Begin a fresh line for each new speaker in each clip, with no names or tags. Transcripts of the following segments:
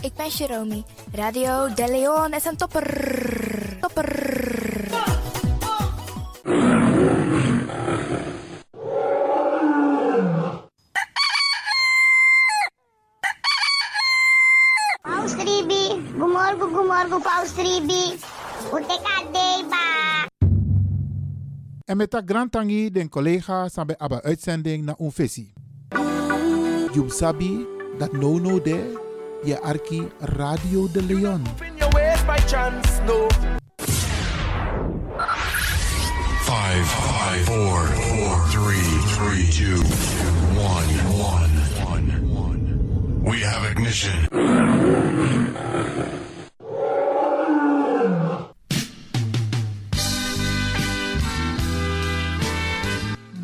Ik ben Jerome. Radio De Leon is een topper. Topper.
Paus 3B, gumorgo, gumorgo, Paus 3B. UTKD, ba.
En met dat grand tangi den collega samen abba uitzending na unfesi. Jum sabi dat no no de je arki Radio de Leon.
in your ways by chance, no.
Five, five, four, four, three, three, two, one, one, one. We have ignition.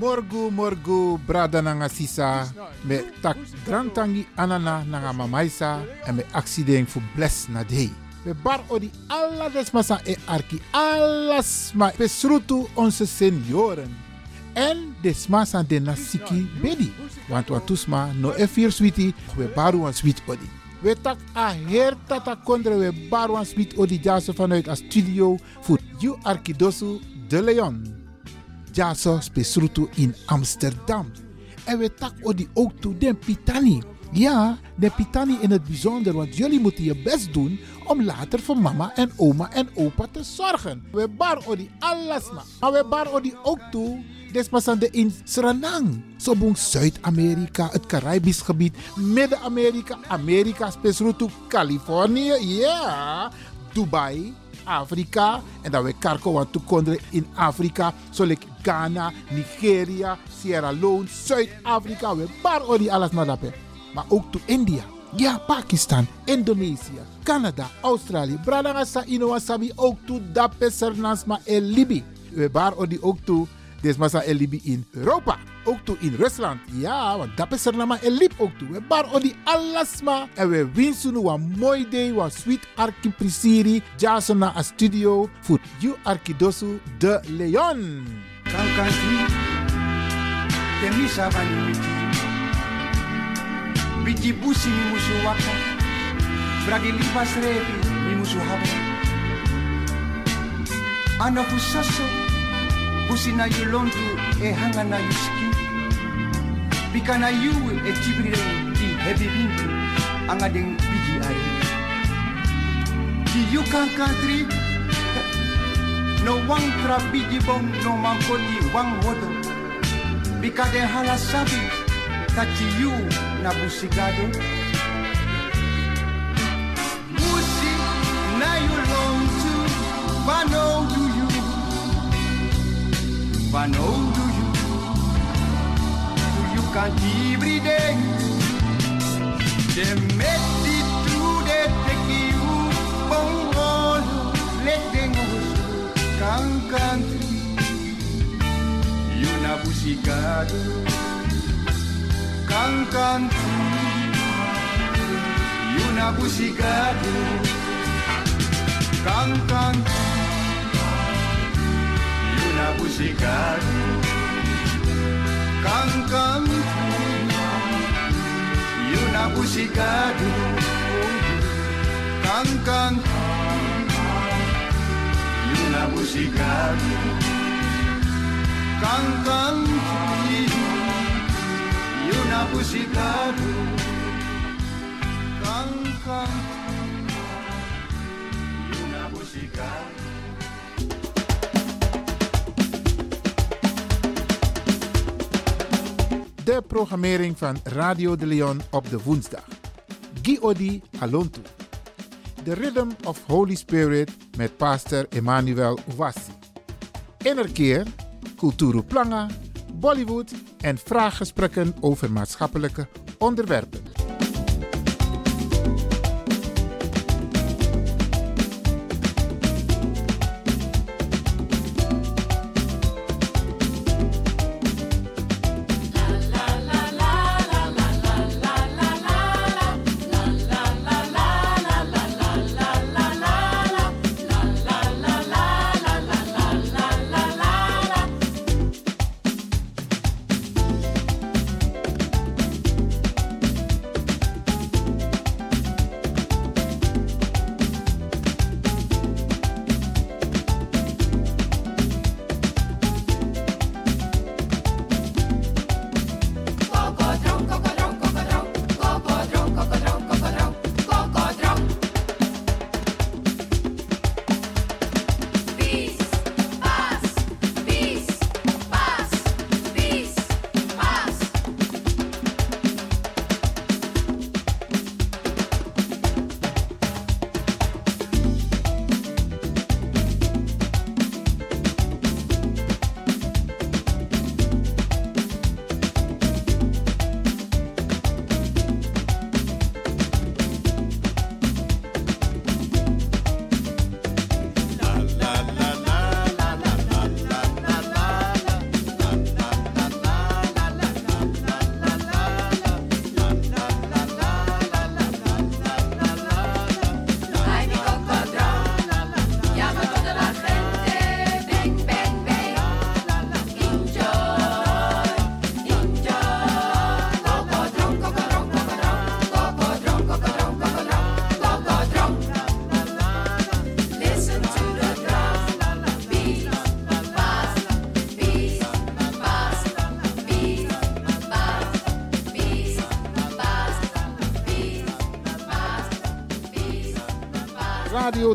Morgu morgu brada nanga sisa. Me tak grand tangi anana nanga mamaisa. En me accident fu bless na dei. We bar odi alla desmasa e arki. Allas ma besrutu onze senioren. En desmasa de nasiki bedi. Want watusma no e fir switi we baru an sweet odi. We tak a her tata kondre we baru an sweet odi jaso vanuit a studio voor you arkidosu de Leon. Jaso Spesruto in Amsterdam. En we tak odi ook toe den Pitani. Ja, de Pitani in het bijzonder, want jullie moeten je best doen om later voor mama en oma en opa te zorgen. We bar odi alles na. Maar we bar odi ook toe despasande in Suriname. Zo boem Zuid-Amerika, het Caribisch gebied, Midden-Amerika, Amerika, Spesruto, Californië, ja, Dubai. Afrika. En dat we karko want toekonderen in Afrika. Zoals Ghana, Nigeria, Sierra Leone, Zuid-Afrika. We bar ori alles maar daarbij. Maar ook to India. Ja, Pakistan, Indonesië, Canada, Australië. Bradagasa Inowasabi ook to dape Sernasma en Libi. We bar ori ook to desmasa en Libi E in Europa. Ook toe in Rusland. Ja, want dape Sernama en Lib ook toe. We bar odi allasma. En we winsten een mooi day. Wa sweet arki prisiri. Jason na a studio. Voor you arkidosu de Leon.
Kankasri, temi sabani miti. Biti busi mi musu waka, bragi lipas repi mi musu haba. Ana fusaso, busi na yulontu e hanga na yuski. Bika na yuwe e tibrire di hebi bintu, anga den biji ari. Di yukan country, No wang trabiji bom no mankoti wang wodo. Bika de hala sabi tachi you na busigado. Busi na you long to wano do you wano do you do you can't every day. They make it through they take you bong all let them go kang country Yun na busigado Kang country Yun na busigado Kang country Yun na busigado Kang country Yun na busigado Kang country y una música can can y una música can can y una música
De programmering van Radio de Leon op de woensdag. Giodi Alonto. The Rhythm of Holy Spirit met pastor Emmanuel Ouassi. Innerkeer, Kulturu Planga, Bollywood en vraaggesprekken over maatschappelijke onderwerpen.
Radio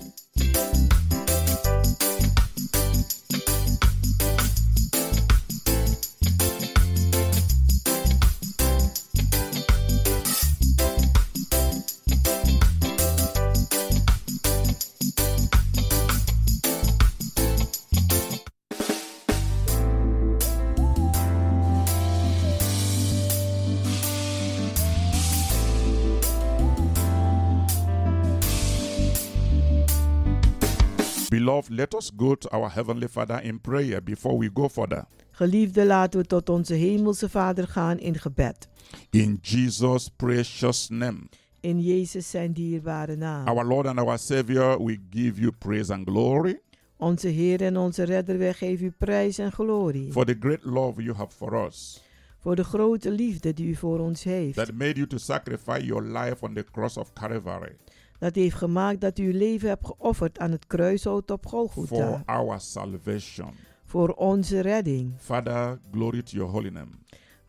Beloved, let us go to our Heavenly Father in prayer before we go further.
Geliefde, laten we tot onze Hemelse Vader gaan in gebed.
In Jesus' precious name,
In Jezus zijn dierbare naam.
our Lord and our Savior, we give you praise and glory
Onze Heer en onze Redder, wij geven u prijs en glorie.
for the great love you have for us
Voor de grote liefde die u voor ons heeft.
that made you to sacrifice your life on the cross of Calvary
Dat heeft gemaakt dat u uw leven hebt geofferd aan het kruishout op
for
Golgotha.
our salvation.
Voor onze redding.
Father, glory to your holy name.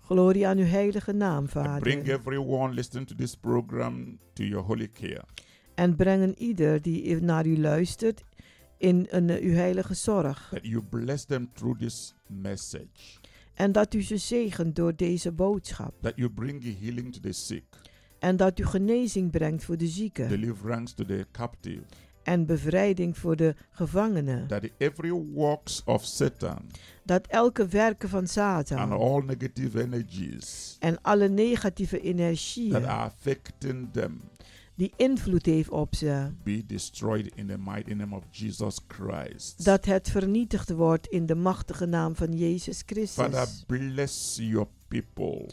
Glorie aan uw heilige naam,
And bring
Vader.
everyone listening to this program to your holy care.
En brengen ieder die naar u luistert in een, eh, uw heilige zorg.
That you bless them through this message.
En dat u ze zegent door deze boodschap.
That you bring healing to the sick,
En dat u genezing brengt voor de zieken.
deliverance to the captive.
En bevrijding voor de gevangenen.
that every works of Satan
Dat elke werken van
and
Satan
all negative energies
en alle negatieve
that
energieën
are affecting them
die invloed heeft op ze,
be destroyed in the mighty name of Jesus Christ.
dat het vernietigd wordt in de machtige naam van Jezus
Father,
Christus.
bless your people,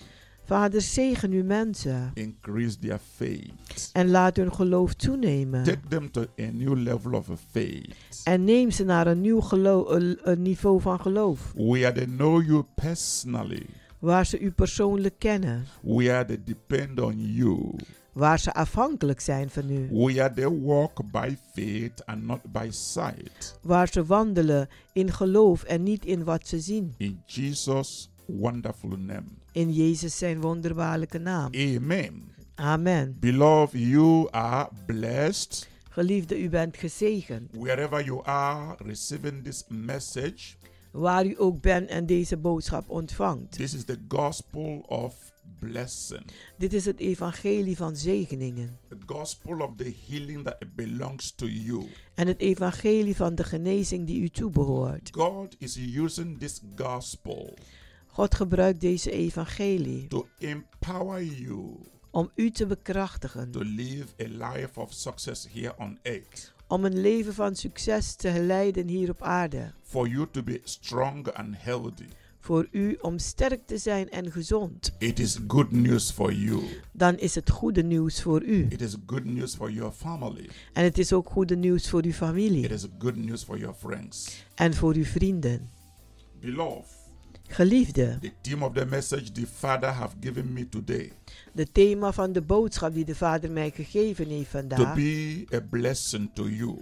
Vader, zegen uw mensen
increase their faith,
en laat hun geloof toenemen.
take them to a new level of faith
En neem ze naar een nieuw gelo- een een niveau van geloof,
where they know you personally,
waar ze u persoonlijk kennen,
where they depend on you,
waar ze afhankelijk zijn van u,
where they walk by faith and not by sight.
waar ze wandelen in geloof en niet in wat ze zien.
In Jesus' wonderful name.
In Jezus zijn wonderbaarlijke naam.
Amen.
Amen.
Beloved, you are blessed
Geliefde, u bent gezegend.
wherever you are receiving this message.
Waar u ook bent en deze boodschap ontvangt.
This is the gospel of blessing,
Dit is het evangelie van zegeningen.
the gospel of the healing that belongs to you.
En het evangelie van de genezing die u toebehoort.
God is using this gospel
God gebruikt deze evangelie
to empower you
om u te bekrachtigen.
to live a life of success here on earth,
Om een leven van succes te leiden hier op aarde.
for you to be strong and healthy.
Voor u om sterk te zijn en gezond.
It is good news for you.
Dan is het goede nieuws voor u.
It is good news for your family.
En het is ook goede nieuws voor uw
It
familie.
is good news for your friends.
En voor uw vrienden.
Beloved,
Geliefde,
the theme of the message the Father have given me today
Het thema van de boodschap die de Vader mij gegeven heeft
to
vandaag
be a blessing to you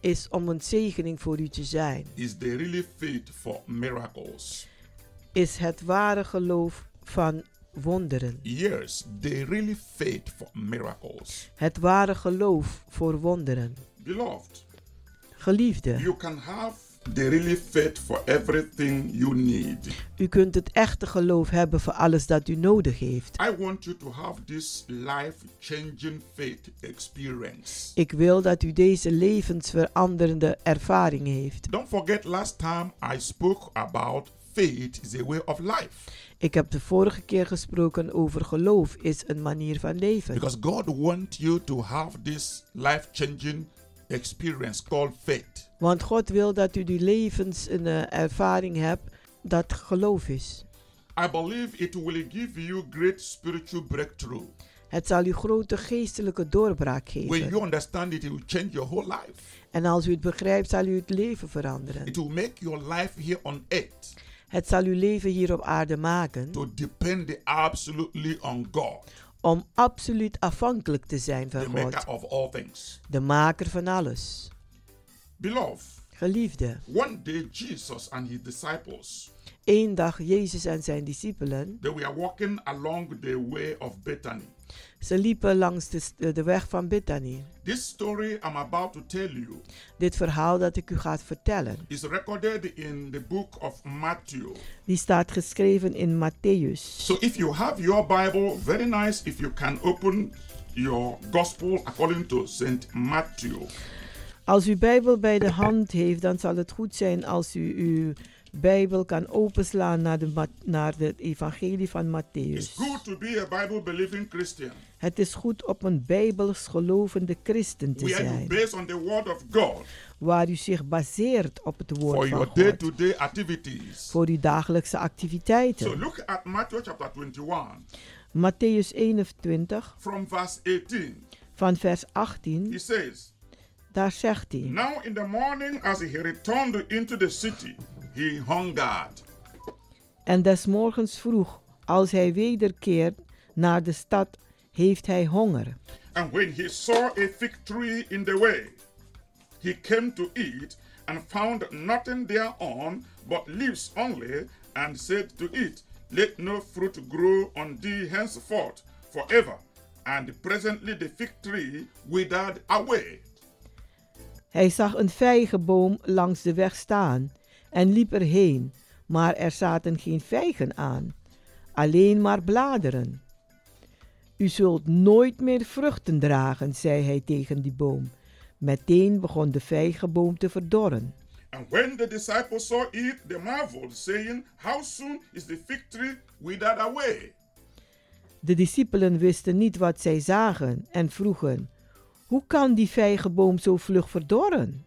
is om een zegening voor u te zijn.
is the really faith for miracles.
Is het ware geloof van wonderen.
Yes, the really faith for miracles.
Het ware geloof voor wonderen.
Beloved,
Geliefde,
you can have the really faith for everything you need.
u kunt het echte geloof hebben voor alles dat u nodig heeft.
I want you to have this life changing faith experience.
Ik wil dat u deze levensveranderende ervaring heeft.
Don't forget, last time I spoke about faith is a way of life.
Ik heb de vorige keer gesproken over geloof is een manier van leven.
Because God wants you to have this life changing
experience called faith.
Want God wil dat u die levenservaring hebt dat geloof is.
I believe it will give you great spiritual breakthrough.
Het zal u grote geestelijke doorbraak
When
geven.
you understand it, it will change your whole life.
En als u het begrijpt, zal u het leven veranderen.
It will make your life here on earth
Het zal uw leven hier op aarde maken
to depend absolutely on God,
om absoluut afhankelijk te zijn
the
van
maker
God,
of all things.
de maker van alles.
Beloved,
Geliefde,
one day Jesus and his disciples
één dag Jezus en zijn discipelen,
they were walking along the way of Bethany.
ze liepen langs de, s- de weg van Bethany.
This story I'm about to tell you
Dit verhaal dat ik u ga vertellen,
is recorded in the book of Matthew.
die staat geschreven in Matthäus.
So if you have your Bible, very nice if you can open your gospel according to St. Matthew.
Als u Bijbel bij de hand heeft, dan zal het goed zijn als u uw Bijbel kan openslaan naar, de, Ma- naar het evangelie van
It's
Matthäus.
good to be a Bible believing Christian
Het is goed om een Bijbels gelovende christen te
where you
zijn,
base on the word of God
waar u zich baseert op het
for
woord
your
van
day
God
to day activities.
voor uw dagelijkse
So
activiteiten.
look at Matthew chapter 21
Matthäus 21
from verse 18.
van vers
He
18,
says,
daar zegt hij:
Now in the morning, as he returned into the city, he hungered.
En des morgens vroeg, als hij wederkeert naar de stad, heeft hij honger.
And when he saw a fig tree in the way, he came to eat and found nothing thereon but leaves only, and said to it, Let no fruit grow on thee henceforth forever. And presently the fig tree withered away.
Hij zag een vijgenboom langs de weg staan en liep erheen, maar er zaten geen vijgen aan, alleen maar bladeren. U zult nooit meer vruchten dragen, zei hij tegen die boom. Meteen begon de vijgenboom te verdorren.
And when the disciples saw it, they marveled, saying, How soon is the fig tree withered away?
De discipelen wisten niet wat zij zagen en vroegen: Hoe kan die vijgenboom zo vlug verdorren?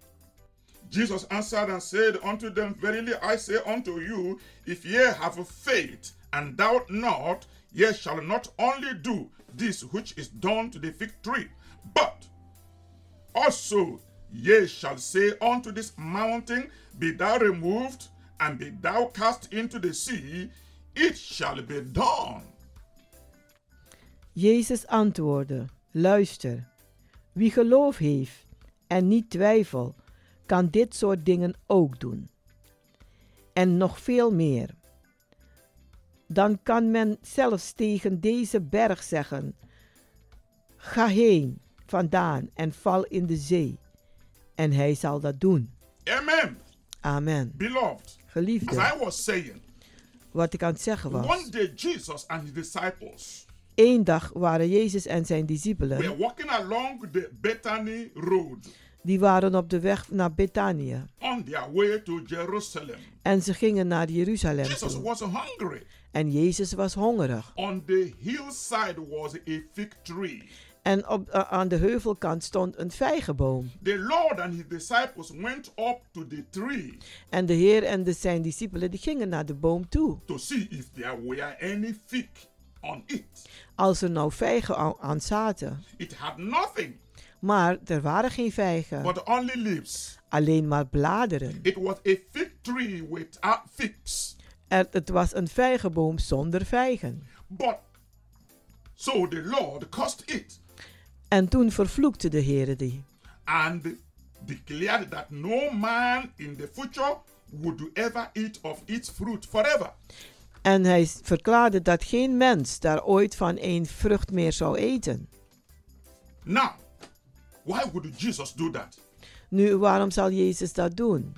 Jesus answered and said unto them, Verily I say unto you, if ye have faith and doubt not, ye shall not only do this which is done to the fig tree, but also ye shall say unto this mountain, Be thou removed, and be thou cast into the sea, it shall be done.
Jezus antwoordde: Luister, wie geloof heeft en niet twijfel, kan dit soort dingen ook doen. En nog veel meer. Dan kan men zelfs tegen deze berg zeggen: Ga heen vandaan en val in de zee. En hij zal dat doen.
Amen.
Amen.
Beloved, as I
Geliefde,
was saying,
wat ik aan het zeggen
one
was.
day Jesus and his disciples
Eén dag waren Jezus en zijn discipelen,
were walking along the Bethany road.
die waren op de weg naar Bethanië.
on their way to Jerusalem.
En ze gingen naar Jeruzalem
Jesus
toe.
was hungry.
En Jezus was hongerig.
On the hillside was a fig tree.
En op, a- aan de heuvelkant stond een vijgenboom.
The Lord and his disciples went up to the tree
En de Heer en de zijn discipelen die gingen naar de boom toe.
to see if there were any fig on it.
Als er nou vijgen aan, aan zaten.
It had nothing
Maar er waren geen vijgen,
but only leaves.
alleen maar bladeren.
It was a fig tree without figs.
Er, het was een vijgenboom zonder vijgen.
But so the Lord cursed it
En toen vervloekte de Heer die.
and declared that no man in the future would ever eat of its fruit forever.
En hij s- verklaarde dat geen mens daar ooit van één vrucht meer zou eten.
Now, why would Jesus do that?
Nu, waarom zal Jezus dat doen?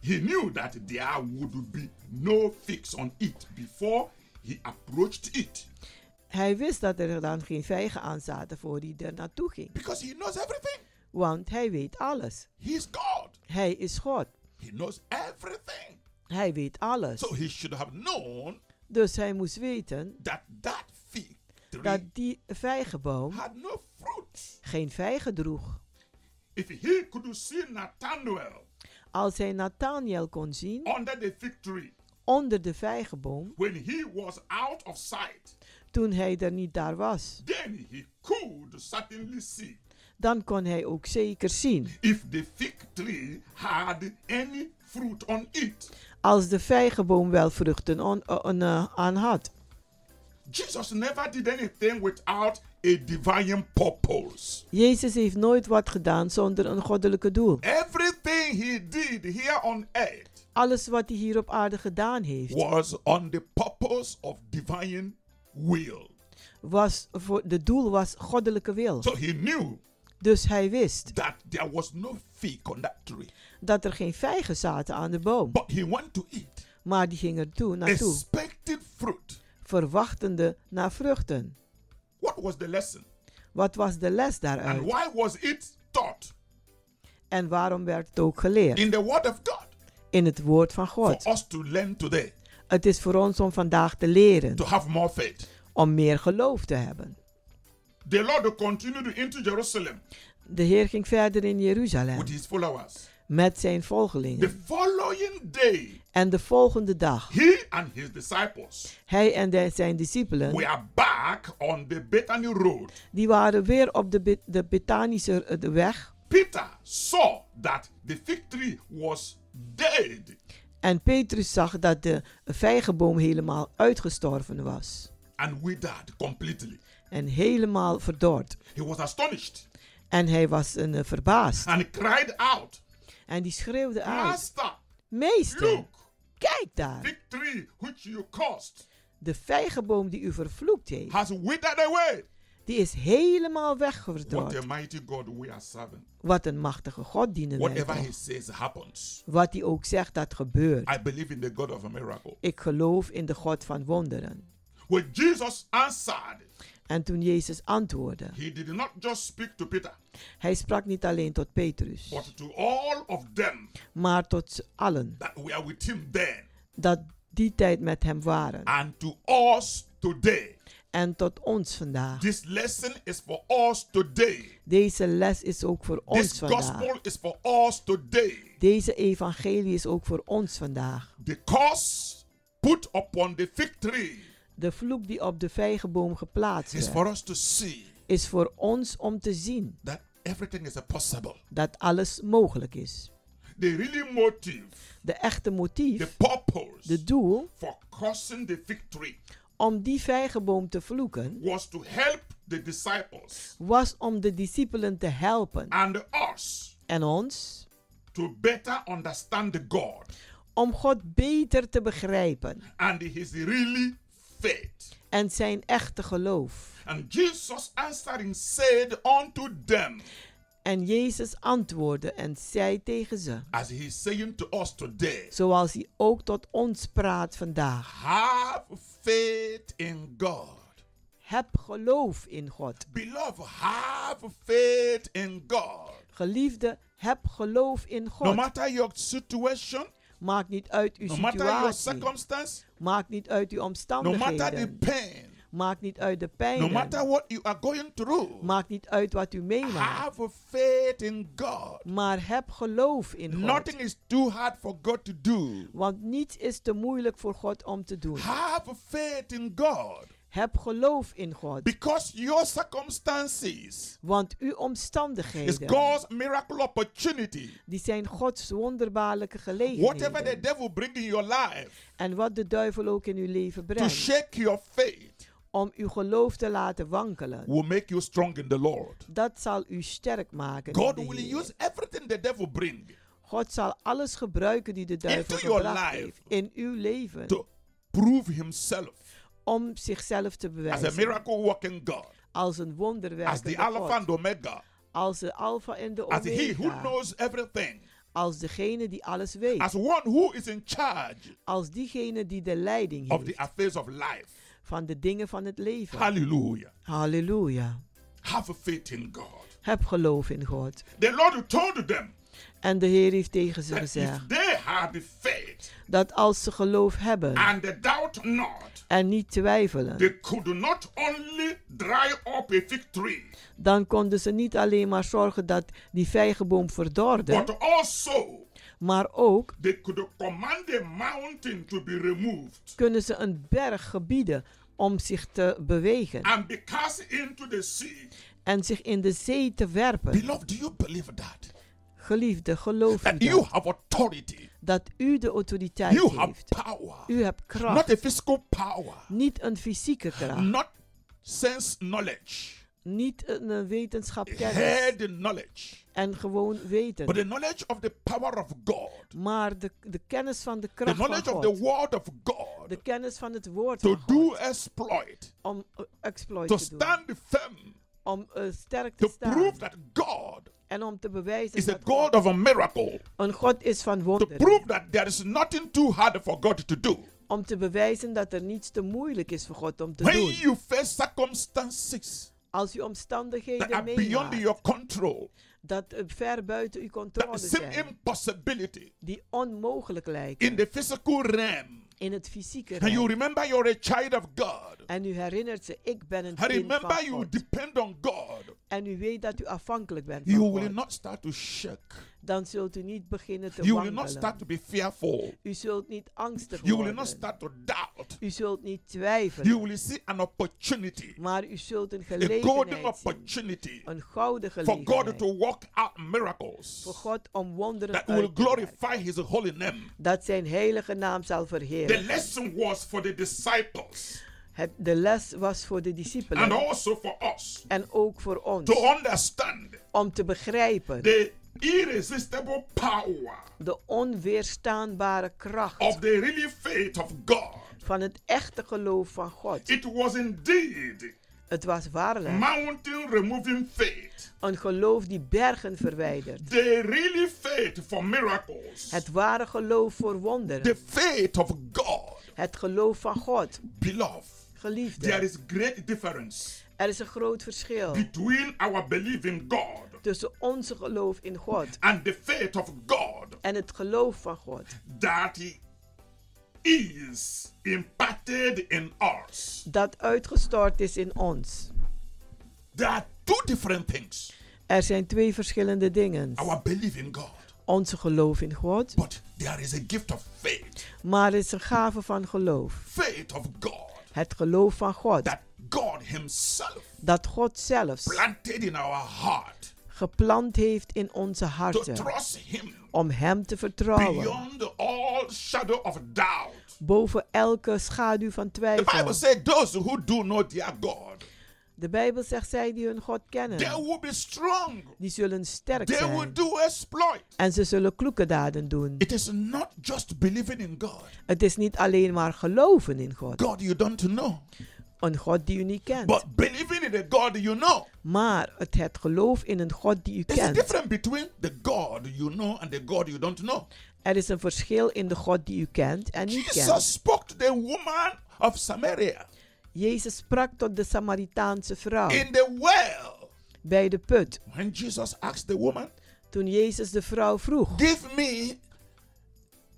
He knew that there would be no fix on it before he approached it
Hij wist dat er dan geen vijgen aan zaten voor hij er naartoe ging.
because he knows everything.
Want hij weet alles.
He's God.
Hij is God.
He knows everything.
Hij weet alles.
So he should have known
Dus hij moest weten
that that fig tree
dat die vijgenboom
had no fruit.
geen vijgen droeg.
If he could see Nathanael
Als hij Nathaniel kon zien
under the fig tree
onder de vijgenboom
when he was out of sight,
toen hij er niet daar was,
then he could certainly see
dan kon hij ook zeker zien
if the fig tree had any fruit on it.
als de vijgenboom wel vruchten on- eh, on- eh, aan had.
Jesus never did anything without a divine purpose.
Jezus heeft nooit wat gedaan zonder een goddelijke doel.
Everything he did here on earth
Alles wat hij hier op aarde gedaan heeft,
was on the purpose of divine will.
was voor, de doel was goddelijke wil.
So he knew
Dus hij wist
that there was no fig on that tree,
dat er geen vijgen zaten aan de boom,
but he went to eat,
maar die ging er toe naartoe,
expected fruit.
verwachtende naar vruchten.
What was the lesson?
Wat was de les
And
daaruit?
why was it taught
En waarom werd het ook geleerd?
in the Word of God
In het woord van
for
God.
us to learn today
Het is voor ons om vandaag te leren,
to have more faith?
om meer geloof te hebben.
The Lord continued into Jerusalem
De Heer ging verder in Jeruzalem
with his followers.
met zijn
The
volgelingen.
following day,
En de volgende dag,
he and his disciples
hij en de- zijn discipelen,
We are back on the Bethany Road.
die waren weer op de, Bit- de Bethanische eh, de weg.
Peter saw that the fig tree was dead
En Petrus zag dat de vijgenboom helemaal uitgestorven was.
and withered completely.
En helemaal verdord.
He was astonished
En hij was een, eh, verbaasd.
and cried out,
En die schreeuwde uit.
Master,
Meester,
look,
kijk daar.
fig tree which you cursed
De vijgenboom die u vervloekt heeft,
has withered away.
die is helemaal
What a
weggeverdord.
mighty God we are serving.
Wat een machtige God dienen wij
Whatever he
toch.
says happens.
Wat hij ook zegt, dat gebeurt.
I believe in the God of a miracle.
Ik geloof in de God van wonderen.
When Jesus answered,
En toen Jezus antwoordde,
he did not just speak to Peter,
hij sprak niet alleen tot Petrus,
but to all of them
maar tot z'n allen,
that were with him then.
dat die tijd met hem waren.
and to us today.
En tot ons vandaag.
This lesson is for us today.
Deze les is ook voor ons
This
vandaag.
gospel is for us today.
Deze evangelie is ook voor ons vandaag.
The curse put upon the fig tree
De vloek die op de vijgenboom geplaatst
is
werd,
for us to see
is voor ons om te zien
that everything is possible.
dat alles mogelijk is.
The really motive,
De echte
the
motief,
purpose
de doel
for cursing the fig tree
om die vijgenboom te vloeken,
was to help the disciples
was om de discipelen te helpen
and us
en ons
to better understand God
om God beter te begrijpen
and his really faith.
en zijn echte geloof.
And Jesus answering said unto them,
En Jezus antwoordde en zei tegen ze,
as he's saying to us today,
zoals hij ook tot ons praat vandaag.
have faith in God.
Heb geloof in God.
Beloved, have faith in God.
Geliefde, heb geloof in
No
God.
matter your situation,
Maakt niet uit uw
no matter your
situatie.
circumstance,
Maakt niet uit uw
no matter the
omstandigheden.
pain,
Maakt niet uit de
no matter
pijn.
what you are going through,
Maakt niet uit wat u meemaakt.
have faith in God.
Maar heb geloof in God.
Nothing is too hard for God to do.
Want niets is te moeilijk voor God om te doen.
Have faith in God
Heb geloof in God.
because your circumstances
Want uw
is
omstandigheden,
God's miracle opportunity.
die zijn Gods wonderbaarlijke
Whatever the
gelegenheden.
devil bring in your life
En wat de duivel ook in uw leven
to
brengt,
shake your faith
om uw geloof te laten wankelen,
will make you strong in the Lord.
dat zal u sterk maken. in
God
de
will
Heer.
use everything the devil bring
God zal alles gebruiken die de duivel
Into your
gebracht
life.
heeft in uw leven
to prove himself
om zichzelf te
as a
bewijzen
miracle working God,
als een
as the
wonderwerkende
Alpha
God,
and Omega,
als de alfa en de
as he who
omega,
knows everything,
als degene die alles weet,
as one who is in charge
als diegene die de leiding
of the
heeft
affairs of life.
van de dingen van het leven.
Hallelujah.
Halleluja.
Have faith in God.
Heb geloof in God.
The Lord told them
En de Heer heeft tegen ze
that
gezegd
if they had faith Ah.
dat als ze geloof hebben
and doubt not,
en niet twijfelen.
They could not only dry up a fig tree,
Dan konden ze niet alleen maar zorgen dat die vijgenboom verdorde,
but also
maar ook
they could command a mountain to be removed
kunnen ze een berg gebieden om zich te bewegen
and be cast into the sea.
en zich in de zee te werpen.
Beloved, do you believe that?
Geliefde, geloof
That
u
you
dat,
have authority,
dat u de autoriteit
you have
heeft.
power,
U hebt
not
kracht,
a physical power,
niet een fysieke kracht,
not sense knowledge,
niet een eh, wetenschap kennis
head knowledge,
en gewoon
but
weten,
the knowledge of the power of God,
maar de, de kennis van de
the
kracht van
knowledge of the
God,
word of God,
de kennis van het woord
to
van God,
do exploit,
om eh, exploit
to
te doen,
stand firm,
om eh, sterk te
to
staan
prove that God
en om te bewijzen
is a
dat
God of a miracle,
een God is van
to
wonderen.
prove that there is nothing too hard for God to do.
om te bewijzen dat er niets te moeilijk is voor God om te
When
doen.
you face circumstances
Als u
that are
omstandigheden
beyond
meemaakt
your control,
dat eh, ver buiten uw controle
that seem
zijn,
impossibility
die onmogelijk lijken
in the physical realm,
in het fysieke
and you
rijk.
remember you're a child of God,
En u herinnert ze, ik ben een
and
kind van
remember you
God.
depend on God,
En u weet dat u afhankelijk bent
you
van
will
Oh God.
not start to shake.
Dan zult u niet beginnen te
You will not start
wankelen.
to be fearful.
U zult niet angstig
You will not
worden.
start to doubt.
U zult niet
You
twijfelen.
will see an opportunity,
Maar u zult een
a golden
gelegenheid zien.
opportunity
Een gouden
for God to
gelegenheid
work out miracles
voor God om wonderen
that will
uit te werken.
glorify His holy name.
dat zijn heilige naam zal
The
verheerlijken.
lesson was for the disciples
Het, de les was voor de
and
discipelen
also for us
en ook voor ons
to understand
om te begrijpen
the irresistible power
de onweerstaanbare kracht
of the really faith of God.
van het echte geloof van God.
It was indeed
Het was waarlijk
mountain removing faith,
een geloof die bergen verwijdert.
the really faith for miracles,
Het ware geloof voor
the
wonderen.
faith of God.
Het geloof van God.
Beloved, there
Geliefde,
is great difference
er is een groot verschil
between our belief in God
tussen onze geloof in God
and the faith of God
en het geloof van God.
that is imparted in us.
Dat uitgestort is in ons.
There are two different things.
Er zijn twee verschillende dingen.
Our belief in God,
onze geloof in God,
but there is a gift of faith,
maar het is een gave van geloof.
faith of God
Het geloof van God,
that God Himself
dat God zelfs
planted in our heart
geplant heeft in onze
to
harten
trust Him
om Hem te vertrouwen,
beyond all shadow of doubt.
boven elke schaduw van
The Bible
twijfel.
said, "Those who do know their God,
De Bijbel zegt, zij die hun God
they
kennen,
will be strong.
die zullen sterk
They will
zijn
do exploit."
en ze zullen kloeke daden doen.
It is not just believing in God,
Het is niet alleen maar geloven in God,
God you don't know,
een God die u niet kent,
but believing in the God you know.
maar het, het geloof in een God die u
There's a
kent.
difference between the God you know and the God you don't know.
Er is een verschil in de God die u kent en niet kent.
Jesus spoke to the woman of Samaria
Jezus sprak tot de Samaritaanse vrouw
in the well.
bij de put.
When Jesus asked the woman,
Toen Jezus de vrouw vroeg:
Give me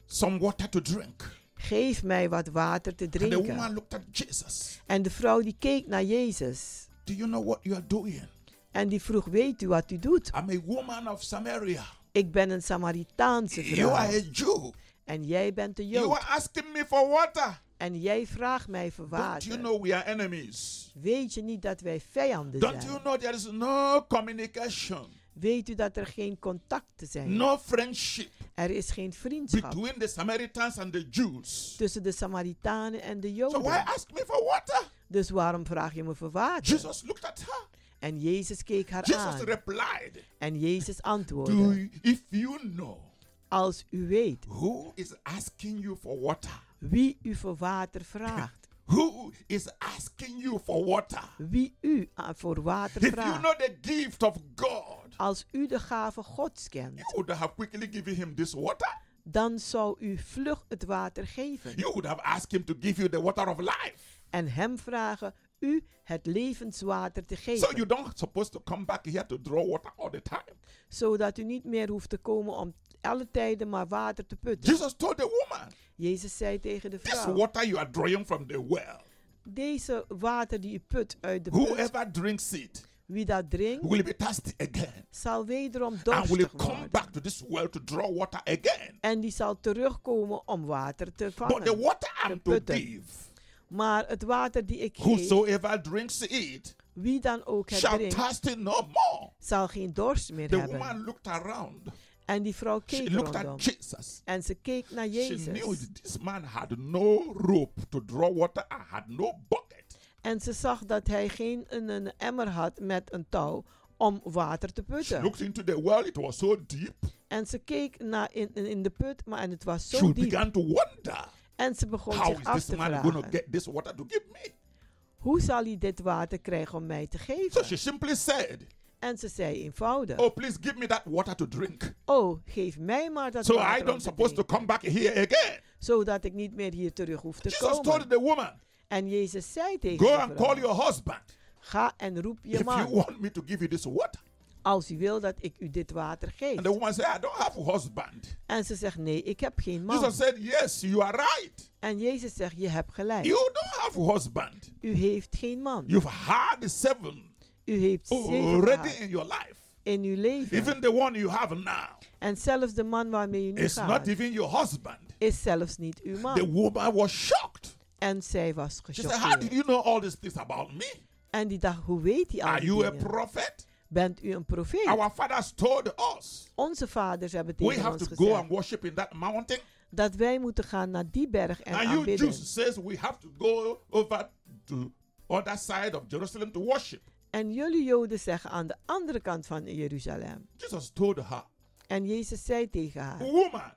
some water to drink.
Geef mij wat water te
And the
drinken.
woman looked at Jesus.
En de vrouw die keek naar Jezus.
Do you know what you are doing?
En die vroeg: Weet u wat u doet?
I'm a woman of Samaria.
Ik ben een Samaritaanse
You are a
vrouw.
Jew.
En jij bent een
You are
Jood.
asking me for water.
En jij vraagt mij voor
Don't you
water.
know we are enemies?
Weet je niet dat wij vijanden
Don't you
zijn?
know there is no communication,
Weet u dat er geen contacten zijn?
no friendship
Er is geen vriendschap
between the Samaritans and the Jews?
tussen de Samaritanen en de
So why
Joden.
ask me for water?
Dus waarom vraag je me voor water?
Jesus looked at her.
En Jezus keek haar
Jesus
aan.
replied,
En Jezus
Do
antwoordde:
you, if you know
Als u weet
who is asking you for water,
wie u voor water vraagt,
who is asking you for water?
wie u a- voor water
If you know
vraagt,
the gift of God,
als u de gave Gods
you
kent,
would have quickly given him this water.
dan zou u vlug het water geven
You would have asked him to give you the water of life.
en hem vragen u het levenswater te
So you
geven,
don't supposed to come back here to draw water all the time.
zodat u niet meer hoeft te komen om alle tijden maar water te putten.
Jesus told the woman,
Jezus zei tegen de
This
vrouw,
water you are drawing from the well,
deze water die u put uit de put,
whoever drinks it
wie dat drinkt,
will be thirsty again
zal wederom
and will
dorstig
come
worden.
back to this well to draw water again.
En die zal terugkomen om water te
But the
vangen,
water
te
I'm to
putten.
give,
Maar het water die ik geef,
whosoever drinks it,
wie dan ook het
shall
drinkt,
thirst no more.
zal geen dorst meer
The
hebben.
woman looked around.
En die vrouw
She
keek
looked at
rondom.
Jesus.
En ze keek naar
She knew
Jezus.
this man had no rope to draw water and had no bucket.
En ze zag dat hij geen een, een emmer had met een touw om water te putten.
Looked into the well, it was so deep.
En ze keek naar in, in, in de put, maar en het was zo
She
diep.
began to wonder
En ze begon
how
zich
is
af
this
te
man going to
vragen.
get this water to give me?
Hoe zal hij dit water krijgen om mij te
So
geven?
she simply said,
En ze zei eenvoudig.
Oh, please give me that water to drink.
Oh, geef mij maar dat
So I
water om
don't
te
supposed to
drinken,
come back here again.
zodat ik niet meer hier terug hoef te
Jesus told
komen.
the woman,
En Jezus zei tegen
Go
de
and
vrouw,
call your husband
ga en roep
if
je
you
man,
want me to give you this water.
als u wil dat ik u dit water geef.
And the woman said, I don't have a husband.
En ze zegt, nee, ik heb geen man.
Jesus said, Yes, you are right.
En Jezus zegt, je hebt gelijk.
You don't have a husband.
U heeft geen man.
You've had seven
U heeft zeven
already
gehad
in your life.
in uw leven.
Even the one you have now
En zelfs de man waarmee u nu
is not
gaat,
even your husband.
is zelfs niet uw
The
man.
woman was shocked.
En zij was
She said, How did
gechoqueerd.
you know all these things about me?
En die dacht, hoe weet hij al
Are
die
you a
dingen?
prophet?
Bent u een profeet?
Our fathers told us
Onze vaders hebben
we
tegen
have
ons
to go and
gezegd
worship in that mountain.
dat wij moeten gaan naar die berg en
And you
aanbidden.
Jews says we have to go over to other side of Jerusalem to worship.
En jullie Joden zeggen aan de andere kant van Jeruzalem.
Jesus told her,
En Jezus zei tegen
Uh,
haar,
Woman, the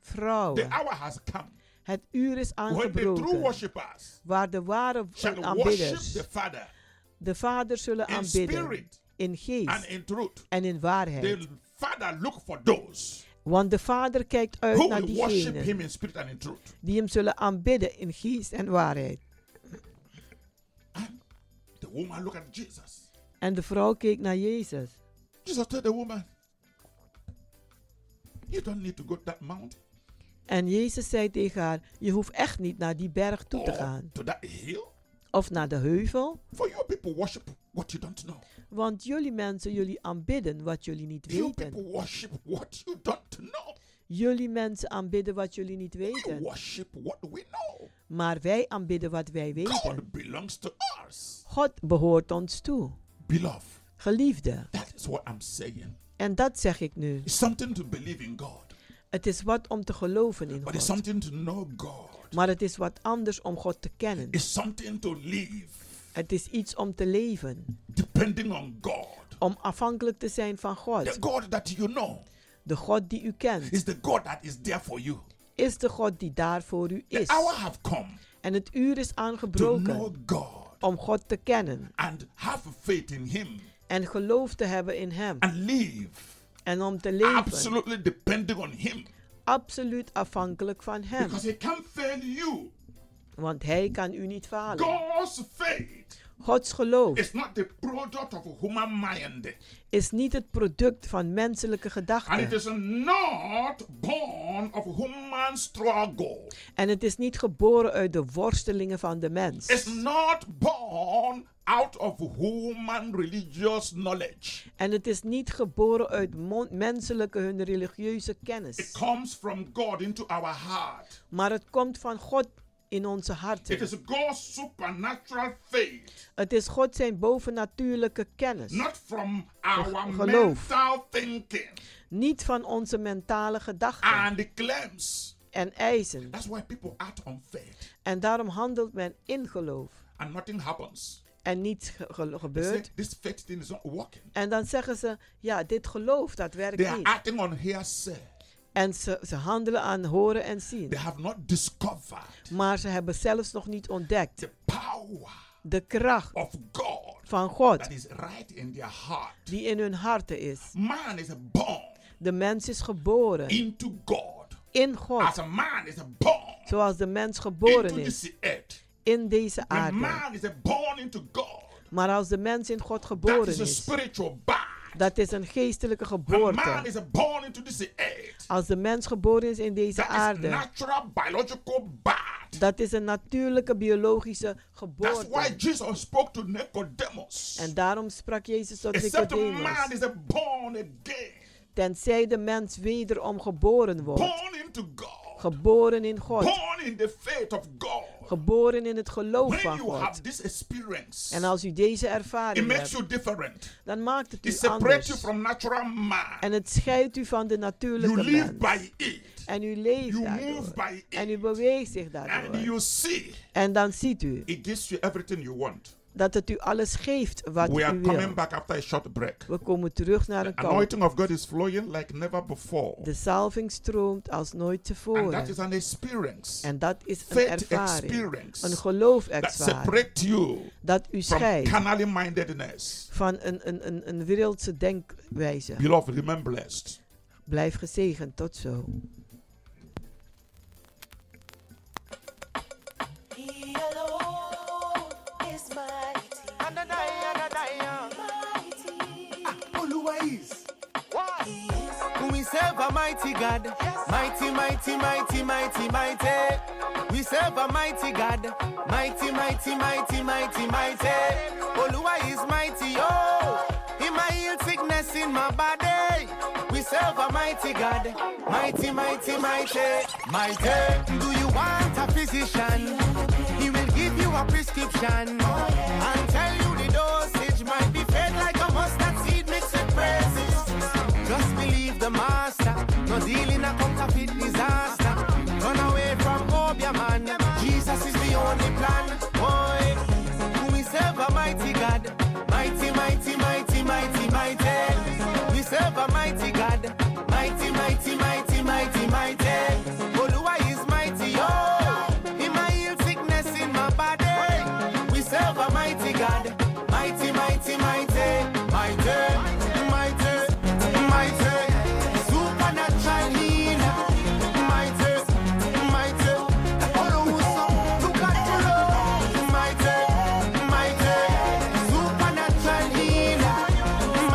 vrouwen,
hour has come
het uur is
when the true
aangebroken
worshippers
waar de ware
shall worship
aanbidders
the Father
de Vader zullen
in
aanbidden
spirit
in
and
geest
in truth.
en in waarheid.
The Father look for those
Want de Vader kijkt uit
who
naar
will worship
diegenen
Him in spirit and in truth.
die hem zullen aanbidden in geest en waarheid.
The woman look at Jesus.
En de vrouw keek naar Jezus.
Jesus told the woman, You don't need to go to that mountain
En Jezus zei tegen haar, je hoeft echt niet naar die berg toe te
or
gaan
to that hill,
of naar de heuvel,
for your people worship what you don't know.
want jullie mensen, jullie aanbidden wat jullie niet
You people
weten.
worship what you don't know.
Jullie mensen aanbidden wat jullie niet
We
weten,
worship what we know.
maar wij aanbidden wat wij weten.
God belongs to us.
God behoort ons toe,
Beloved,
geliefde.
that is what I'm saying.
En dat zeg ik nu.
It's something to believe in God,
Het is wat om te geloven in
but it's
God.
something to know God.
Maar het is wat anders om God te kennen.
It's something to live
Het is iets om te leven.
depending on God.
Om afhankelijk te zijn van
The
God.
God that you know
De God die u kent,
is the God that is there for you.
is de God die daar voor u
The
is.
hour have come
En het uur is
to know
aangebroken
God
om God te kennen.
and have faith in Him
En geloof te hebben in Hem.
and live
En om te leven.
absolutely depending on Him
Absoluut afhankelijk van Hem.
because He can't fail you.
Want Hij kan u niet falen.
God's faith
Gods geloof
is not the product of a human mind,
is niet het product van menselijke
and it
gedachten.
is not born of human struggle.
En het is niet geboren uit de worstelingen van de
It's
mens.
not born out of human religious knowledge.
En het is niet geboren uit mon- menselijke hun religieuze
It
kennis.
comes from God into our heart.
Maar het komt van God in onze
It
harten.
is God's supernatural faith,
Het is God zijn bovennatuurlijke kennis.
not from our
geloof.
mental thinking
Niet van onze mentale gedachten
and claims.
en eisen.
That's why people act on faith
En daarom handelt men in geloof.
and nothing happens.
En niets ge- ge-
They say,
gebeurt.
this faith thing is not working.
En dan zeggen ze, ja, dit geloof, dat
They
werkt
are
niet.
acting on hearsay.
En ze, ze handelen aan horen en zien.
They have not discovered
Maar ze hebben zelfs nog niet ontdekt
the power
de kracht
of God
van God
that is right in their heart.
die in hun harten is.
Man is born
De mens is geboren
into God
in
as
God,
a man is born
zoals de mens
into
geboren is
this earth
in deze
When
aarde.
man is born into God,
Maar als de mens in God
that
geboren
is a
is,
spiritual birth.
dat is een geestelijke
When man
geboorte.
is born into this earth,
Als de mens geboren is in deze
that is
aarde,
natural biological birth.
dat is een natuurlijke biologische
That's why
geboorte.
Jesus spoke to Nicodemus.
En daarom sprak Jezus tot
Except a man
Nicodemus.
is born again,
Tenzij de mens wederom geboren wordt,
born into God,
geboren in God,
born in the faith of God.
geboren in het geloof
When
van
you
God.
have this experience,
En als u deze
it
ervaring
makes
hebt,
you different.
dan maakt het
It
u
separates you
anders.
from natural man.
En het scheidt u van de natuurlijke
You live
mens.
by it,
En u leeft
you move
daardoor.
by
En u
it,
beweegt zich
and
daardoor.
you see
En dan ziet u
it gives you everything you want.
dat het u alles geeft wat
We are
u wil.
coming back after a short break.
We komen terug naar een kant.
Anointing of God is flowing like never before,
De salving stroomt als nooit
and that
tevoren.
is an experience
En dat is een
faith
ervaring.
experience
Een
that
geloofervaring.
separates you
Dat u
from
scheidt
carnally mindedness.
van een, een, een, een wereldse denkwijze.
Beloved, remain blessed.
Blijf gezegend. Tot zo.
We serve a mighty God, mighty, mighty, mighty, mighty, mighty. We serve a mighty God, mighty, mighty, mighty, mighty, mighty. Oluwa is mighty, oh, in my ill sickness in my body. We serve a mighty God, mighty, mighty, mighty, mighty. Do you want a physician? He will give you a prescription and tell you the dosage might be fed like a mustard seed mixed with praises. Just believe the master, no deal in a counterfeit disaster. Run away from Obia man, Jesus is the only plan. Boy, we serve a mighty God, mighty, mighty, mighty, mighty, mighty. We serve a mighty God, mighty, mighty, mighty, mighty, mighty. Oluwa is mighty, oh, in my ill sickness in my body. We serve a mighty God, mighty, mighty, mighty, mighty, mighty, mighty. Supernatural healer, mighty, mighty. Oluwuso, Tukatulo, mighty, mighty. Supernatural healer,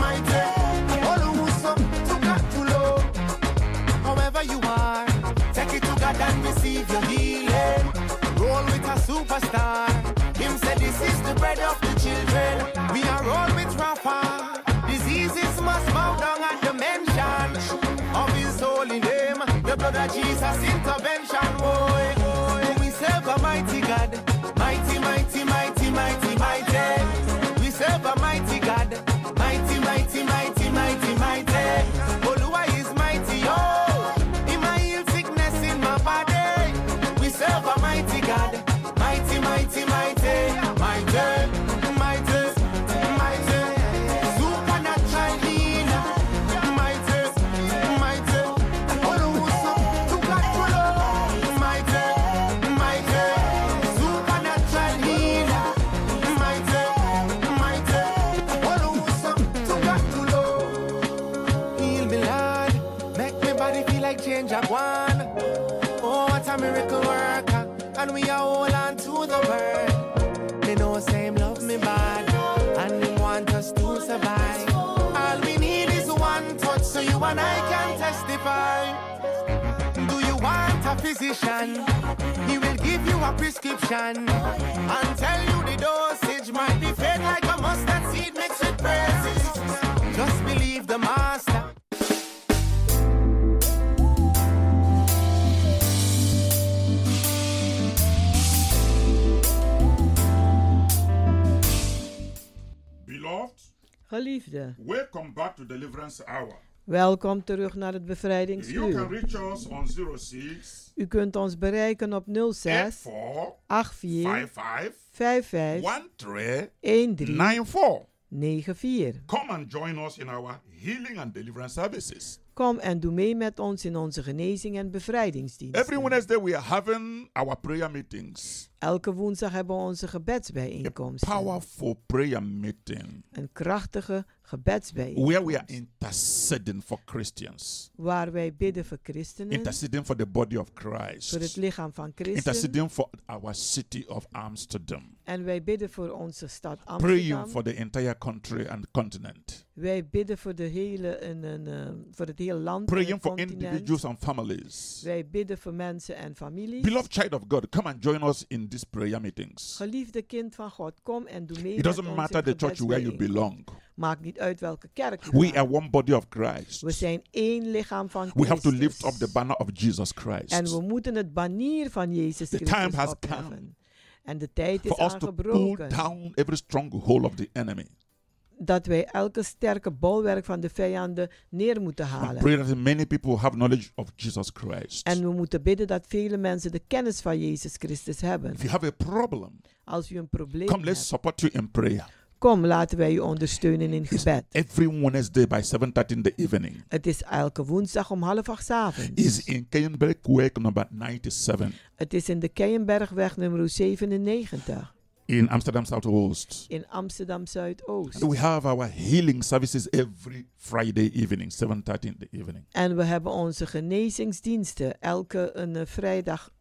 mighty, mighty. Oluwuso, Tukatulo. However you are, take it to God and receive your healing. Roll with a superstar. Him said this is the bread of the children. We are all with Rafa. Diseases must bow down at the mention of his holy name. The blood of Jesus intervention. Boy, boy. We serve a mighty God. Mighty, mighty, mighty, mighty, mighty. We serve a mighty God. Mighty, mighty, mighty, mighty, mighty. Oluwa is mighty, oh. In my ill sickness, in my body. We serve a mighty God. Mighty, mighty, mighty, mighty, mighty, mighty. Supernatural healer. Mighty, mighty. Oh, Oluwuso, Tukatulo. Mighty, mighty. Supernatural healer. Mighty, mighty. Oh, Oluwuso, Tukatulo. Heal me, Lord. Make me body feel like change I want. Oh, what a miracle worker. And we are all on to the word. They know same love me bad. And they want us to survive. All we need is one touch so you and I can testify. Do you want a physician? He will give you a prescription and tell you the dosage might be fed like a mustard seed mixed with praises. Just believe the master.
Beloved,
Geliefde,
welcome back to Deliverance Hour.
welkom terug naar het
If you can
bevrijdingsuur.
reach us on 06
U kunt ons bereiken op 06
84
84
55
55
13
13
94.
94.
Come and join us in our healing and deliverance services.
Kom en doe mee met ons in onze genezing en bevrijdingsdienst.
Every Wednesday, we are having our prayer meetings.
Elke woensdag hebben we onze gebedsbijeenkomst.
powerful prayer meeting
Een krachtige gebedsbijeenkomst.
where we are interceding for Christians,
Waar wij bidden voor christenen,
interceding for the body of
voor het
Christ,
lichaam van Christus.
interceding for our city of Amsterdam,
En wij bidden voor onze stad
praying
Amsterdam.
for the entire country and continent,
Wij bidden voor, de hele, en en, eh, voor het hele land en
praying
het
for
continent.
individuals and families.
Wij bidden voor mensen en families.
Beloved child of God, come and join us in these prayer meetings.
Geliefde kind van God, kom en doe mee
It
met
doesn't
ons
matter
in
the church where you
gebedsbijeen.
belong.
Maakt niet uit welke kerk je
We are
gaat.
one body of Christ.
We zijn één lichaam van Christus.
We have to lift up the banner of Jesus Christ.
En we moeten het banier van Jezus
The
Christus
time has
opheffen.
come
En de tijd is
for us to pull
aangebroken
down every stronghold of the enemy.
dat wij elke sterke bolwerk van de vijanden neer moeten
And
halen.
pray that many people have knowledge of Jesus Christ.
En we moeten bidden dat vele mensen de kennis van Jezus Christus hebben.
if you have a problem,
Als u een probleem
come, let's
hebt,
support you in prayer.
kom laten wij u ondersteunen in gebed.
Every Wednesday by 7.30 in the evening
Het is elke woensdag om half acht 's avonds.
is in Kenberg, Kuwait, number 97
Het is in de Keienbergweg nummer 97
in Amsterdam Southwest.
in Amsterdam Zuidoost.
And we have our healing services every Friday evening, 7.30 in the evening.
En we hebben onze genezingsdiensten elke een eh, vrijdag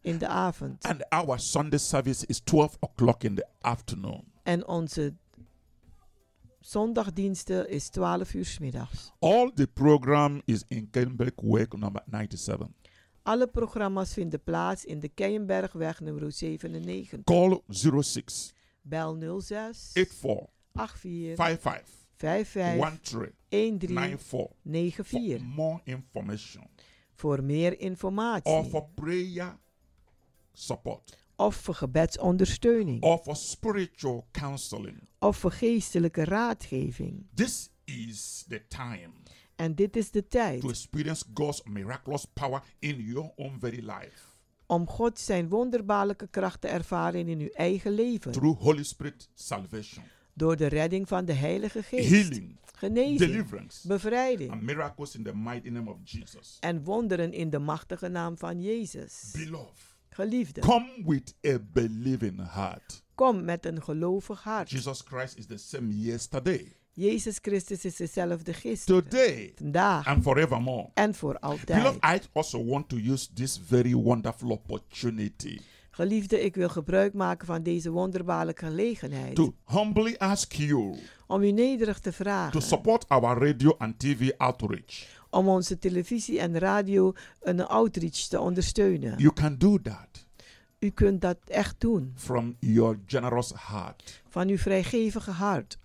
in de avond.
And our Sunday service is 12 o'clock in the afternoon.
En onze zondagdiensten is 12 uur 's middags.
All the program is in Kenberg, Kuwait, number 97.
Alle programma's vinden plaats in de Keienbergweg nummer 97.
Call 06
Bel 06
84
84
55
55
1394
13
for
94
more information
voor meer
or
informatie.
for prayer support
of voor gebedsondersteuning,
or for spiritual counseling.
of voor geestelijke raadgeving.
This is the time
En dit is de
to
tijd
experience God's miraculous power in your own very life
om God zijn wonderbaarlijke kracht te ervaren in uw eigen leven.
through Holy Spirit salvation,
Door de redding van de Heilige Geest,
healing,
genezing,
deliverance, and
bevrijding
miracles in the mighty name of Jesus.
en wonderen in de machtige naam van Jezus.
Beloved.
Geliefde,
Come with a believing heart.
kom met een gelovig hart.
Jesus Christ is the same yesterday,
Jezus Christus is dezelfde gisteren,
today,
vandaag
and forevermore.
en voor
Beloved,
altijd.
I also want to use this very wonderful opportunity
Geliefde, ik wil gebruik maken van deze wonderbaarlijke gelegenheid.
to humbly ask you
om u nederig te
to
vragen
support our radio and TV outreach.
om onze televisie en radio een outreach te ondersteunen.
You can do that
U kunt dat echt doen
from your generous heart.
van uw vrijgevige hart.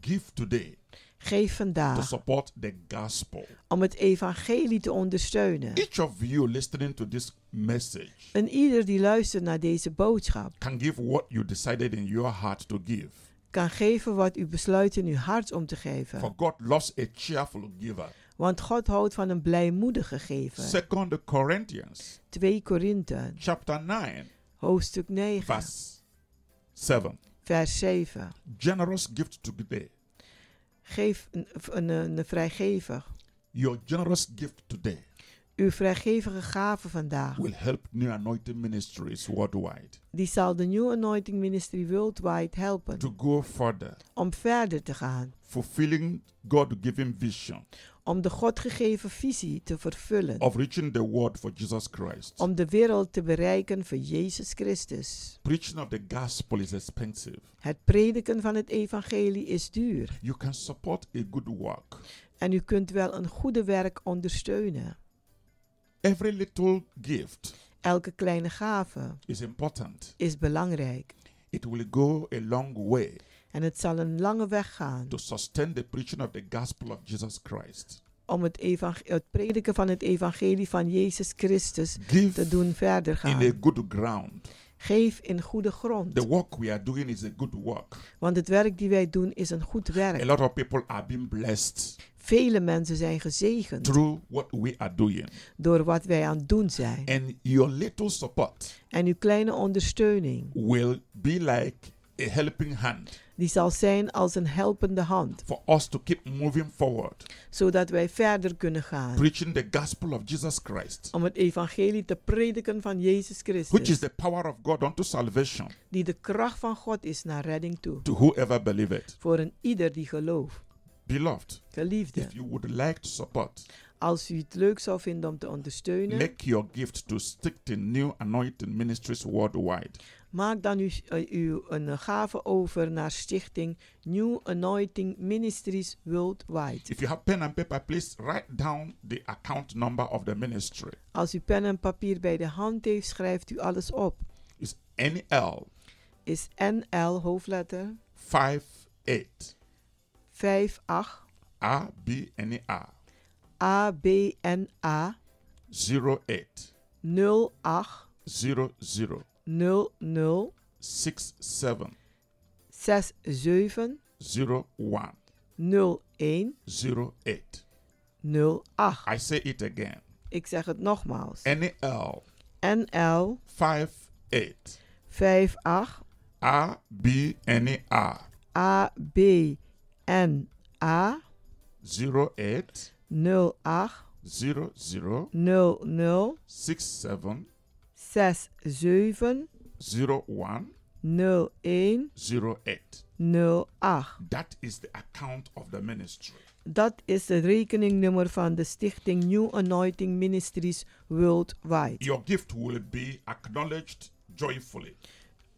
Give today
Geef
to
vandaag
support the gospel.
om het evangelie te ondersteunen.
Each of you listening to this message
En ieder die luistert naar deze boodschap
can give what you decided in your heart to give.
kan geven wat u besluit in uw hart om te
For
geven.
God loves a cheerful giver.
Want God houdt van een blijmoedige gever.
Second Corinthians
2 Korinthe,
chapter 9
hoofdstuk 9,
verse 7.
vers 7.
Generous gift today.
Geef een, een, een vrijgevig.
Your generous gift today
Uw vrijgevige gave vandaag.
will help new anointing ministries worldwide
Die zal de New Anointing Ministry Worldwide helpen
to go further,
om verder te gaan,
fulfilling God-given vision
om de God gegeven visie te vervullen,
of reaching the world for Jesus Christ.
om de wereld te bereiken voor Jezus Christus.
Preaching of the gospel is expensive.
Het prediken van het evangelie is duur
You can support a good work.
en u kunt wel een goede werk ondersteunen.
Every little gift
Elke kleine gave
is important.
is belangrijk
It will go a long way
en het zal een lange weg gaan
to sustain the preaching of the gospel of Jesus Christ.
om het, evang- het prediken van het evangelie van Jezus Christus
Give
te doen verder
in a
gaan.
good ground.
Geef in goede grond.
The work we are doing is a good work.
Want het werk die wij doen is een goed
A
werk.
lot of people are being blessed
Vele mensen zijn gezegend
through what we are doing.
door wat wij aan het doen zijn.
And your little support
En uw kleine ondersteuning
will be like a helping hand
die zal zijn als een helpende hand,
for us to keep moving forward,
zodat wij verder kunnen gaan
preaching the gospel of Jesus Christ,
om het evangelie te prediken van Jezus
which is
Christus,
the power of God unto salvation
die de kracht van God is naar redding toe,
to whoever believeth.
voor een ieder die gelooft.
Beloved,
Geliefde,
if you would like to support,
als u het leuk zou vinden om te ondersteunen,
make your gift to stick to new anointing ministries worldwide.
maak dan uw, eh, uw een gave over naar stichting New Anointing Ministries Worldwide.
If you have pen and paper, please write down the account number of the ministry.
Als u pen en papier bij de hand heeft, schrijft u alles op.
It's NL
Is NL hoofdletter
58
58
RBNR
ABNA
08
08
00
00
67
67
01
01
08.
08.
I say it again.
Ik zeg het nogmaals.
NL
NL
58
58
RBNR
ABNA
08
08
00
00
67
67
01
01
08.
08.
That is the account of the ministry.
Dat is de rekeningnummer van de stichting New Anointing Ministries Worldwide.
Your gift will be acknowledged joyfully.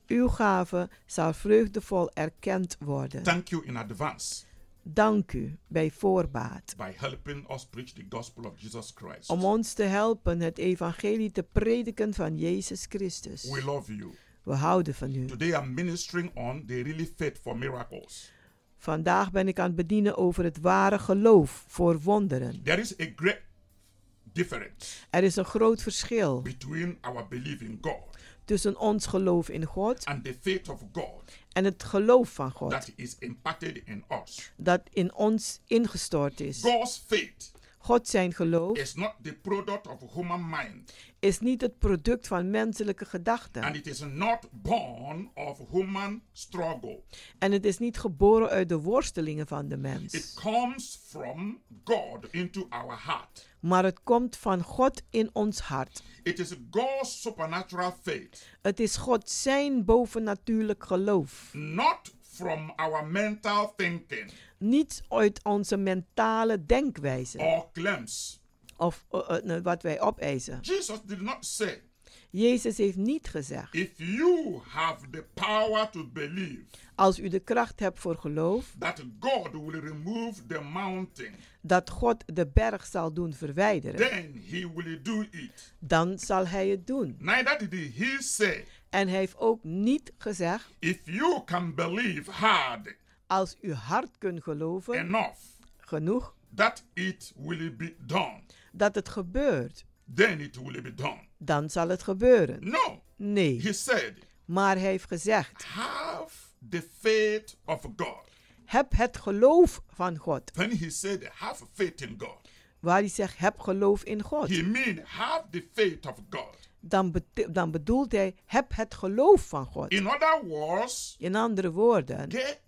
Uw gave zal vreugdevol erkend worden.
Thank you in advance
Dank u bij voorbaat
by helping us preach the gospel of Jesus Christ.
om ons te helpen het evangelie te prediken van Jezus Christus.
We love you.
We houden van u.
Today I'm ministering on the really faith for miracles.
Vandaag ben ik aan het bedienen over het ware geloof voor wonderen.
There is a great difference
Er is een groot verschil
between our belief in God
tussen ons geloof in God
and the faith of God
en het geloof van God
that is imparted in us.
dat in ons ingestort is.
God's faith
God zijn geloof
is not the product of human mind
is niet het product van menselijke gedachten
and it is not born of human struggle.
en het is niet geboren uit de worstelingen van de
It
mens,
comes from God into our heart.
maar het komt van God in ons hart.
It is God's supernatural faith,
Het is God zijn bovennatuurlijk geloof,
not from our mental thinking
niet uit onze mentale denkwijze
or claims.
of eh, eh, wat wij opeisen.
Jesus did not say,
Jezus heeft niet gezegd:
If you have the power to believe
als u de kracht hebt voor geloof,
that God will remove the mountain,
dat God de berg zal doen verwijderen,
then he will do it.
dan zal hij het doen.
Neither did he say,
En hij heeft ook niet gezegd:
If you can believe hard
als u hard kunt geloven,
enough
genoeg,
that it will be done,
dat het gebeurt,
then it will be done.
dan zal het gebeuren.
No, he
Nee,
said,
maar hij heeft gezegd:
Have the faith of God.
heb het geloof van God.
When he said, Have faith in God,
Waar hij zegt: heb geloof in God,
he mean have the faith of God.
dan, bete- dan bedoelt hij: heb het geloof van God.
In other words,
In andere woorden,
get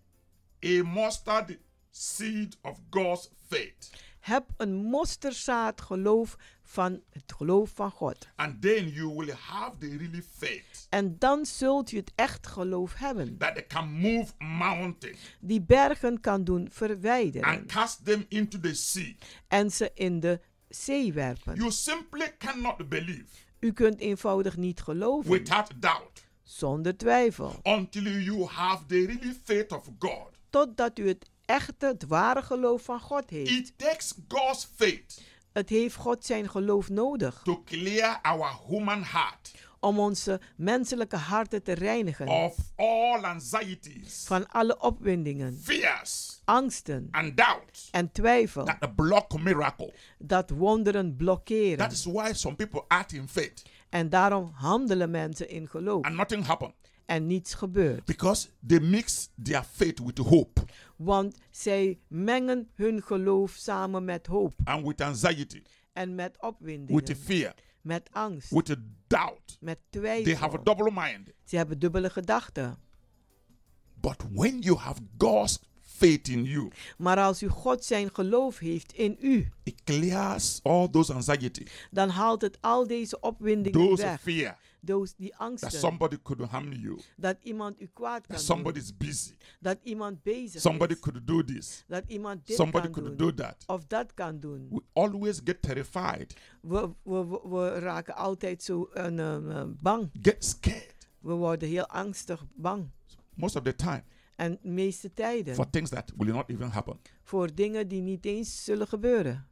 a mustard seed of God's faith,
Heb een mosterdzaad geloof van het geloof van God.
and then you will have the really faith
En dan zult u het echt geloof hebben.
that they can move mountains
Die bergen kan doen
and
verwijderen.
cast them into the sea.
En ze in de zee werpen.
You simply cannot believe
U kunt eenvoudig niet geloven.
without doubt
Zonder twijfel.
until you have the really faith of God.
Totdat u het echte, het ware geloof van God heeft.
It takes God's faith
Het heeft God zijn geloof nodig.
to clear our human heart
Om onze menselijke harten te reinigen.
of all anxieties,
Van alle opwindingen,
fears,
angsten
and doubts
en twijfel.
that block miracle.
Dat wonderen blokkeren.
That is why some people act in faith
En daarom handelen mensen in geloof
and nothing happens
en niets gebeurt.
because they mix their faith with hope
Want zij mengen hun geloof samen met hoop
and with anxiety,
en met
with
opwinding,
fear,
met angst,
with doubt.
met
They have a
twijfel.
double mind.
Ze hebben dubbele gedachten.
But when you have God's faith in you,
Maar als u God zijn geloof heeft in u,
it clears all those anxiety,
dan haalt het al deze opwindingen
those
weg.
fear
Those, die
that
angsten
somebody could harm you,
dat iemand u kwaad
that
kan doen,
somebody's busy,
dat iemand bezig
somebody
is,
could do this,
dat iemand dit
somebody
kan
could
doen
do that.
of dat kan doen.
We always get terrified,
We, we, we, we raken altijd zo een, ehm, eh, bang.
get scared
We worden heel angstig bang.
most of the time
En de meeste tijden
for things that will not even happen.
voor dingen die niet eens zullen gebeuren.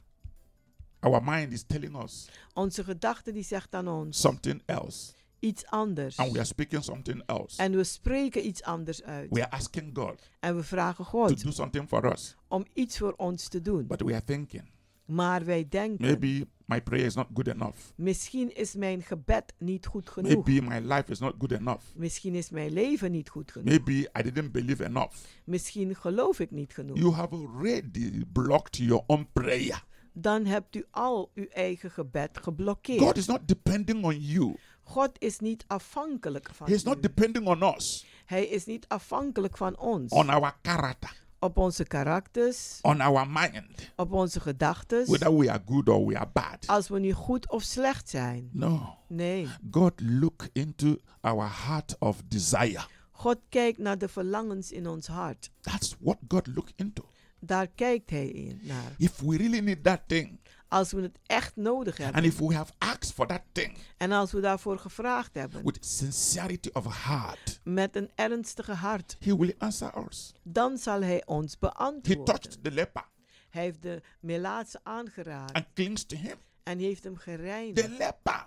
Our mind is telling us
Onze gedachte die zegt aan ons
something else,
iets anders.
and we are speaking something else.
En we spreken iets anders uit.
We are asking God
En we vragen
to
God
do something for us,
om iets voor ons te doen.
but we are thinking
Maar wij denken,
maybe my prayer is not good enough,
misschien is mijn gebed niet goed genoeg.
maybe my life is not good enough,
Misschien is mijn leven niet goed genoeg.
maybe I didn't believe enough.
Misschien geloof ik niet genoeg.
You have already blocked your own prayer.
Dan hebt u al uw eigen gebed
God
geblokkeerd.
is not depending on you.
God is niet afhankelijk van
He's not
u.
depending on us,
Hij is niet afhankelijk van ons.
on our character,
op onze karakters,
on our mind,
op onze
whether
gedachten.
we are good or we are bad.
Als we nu goed of slecht zijn.
No.
Nee.
God look into our heart of desire.
God kijkt naar de verlangens in ons hart.
That's what God look into.
Daar kijkt Hij in naar.
If we really need that thing,
Als we het echt nodig hebben.
and if we have asked for that thing
En als we daarvoor gevraagd hebben.
with sincerity of heart,
Met een ernstige hart.
He will answer us.
Dan zal Hij ons
He
beantwoorden.
touched the leper
Hij heeft de melaatse aangeraakt.
and clings to him.
En heeft hem
The
gereinigd.
leper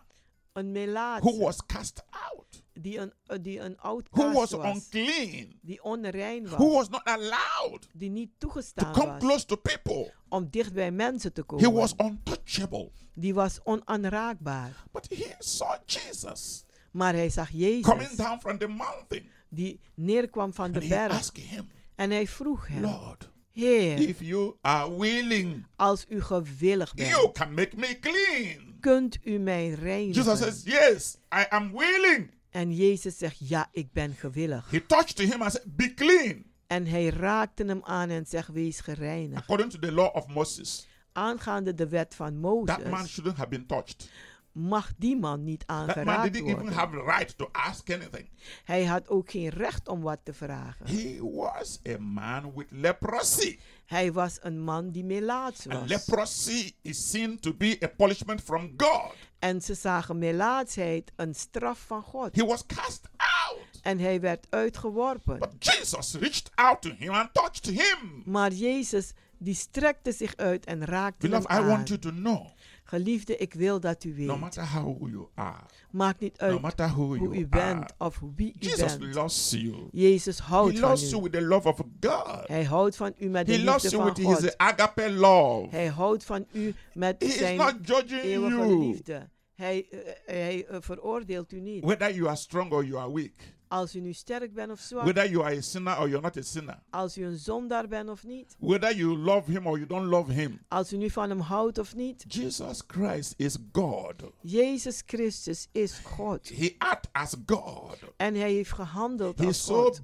Een
who
melaatse
was cast out,
die een, eh, die een
who was
outcast was.
unclean,
Die onrein
who
was.
was not allowed
Die niet
to
toegestaan
come
was.
close to people.
om dicht bij mensen te
He
komen.
was untouchable.
die was onaanraakbaar.
But he saw Jesus
Maar hij zag
coming
Jezus,
down from the mountain.
die neerkwam van de
And he
berg.
asked him,
En hij vroeg hem,
Lord,
Heer,
if you are willing,
als u gewillig
you
bent,
can make me clean.
kunt u mij
Jesus says,
reinigen.
Yes, I am willing.
En Jezus zegt, ja, ik ben gewillig.
He touched him and said, Be clean
En hij raakte hem aan en zegt, wees gereinigd.
according to the law of Moses.
Aangaande de wet van
That man
Mozes
shouldn't have been touched.
mag die man niet
That man
aangeraakt
didn't even
worden.
have right to ask anything.
Hij had ook geen recht om wat te vragen.
He was a man with leprosy.
Hij was een man die melaats
And
was.
leprosy is seen to be a punishment from God.
En ze zagen melaatsheid een straf van God.
He was cast out.
En hij werd uitgeworpen.
But Jesus reached out to him and touched him.
Maar Jezus, die strekte zich uit en raakte
Beloved, I
hem aan.
want you to know
Geliefde, ik wil dat u
no
weet.
matter how you are,
Maakt niet
no
uit
matter Nou, who
hoe u
you are,
bent of wie u
Jesus
bent.
loves you.
Jezus
He
houdt van
loves you
u.
with the love of God.
Hij houdt van u met de
He
liefde
loves you
van
with his
God.
agape love.
Hij houdt van u met
He is
zijn
not judging
eeuwige
you
liefde. Hij, eh, hij eh, veroordeelt u niet.
whether you are strong or you are weak,
Als u nu sterk bent of zwak,
whether you are a sinner or you're not a sinner.
als u een zondaar bent of niet,
whether you love him or you don't love him.
als u nu van hem houdt of niet.
Jesus Christ is God.
Jezus Christus is God.
He act as God.
En hij heeft gehandeld
He's
als
so
God.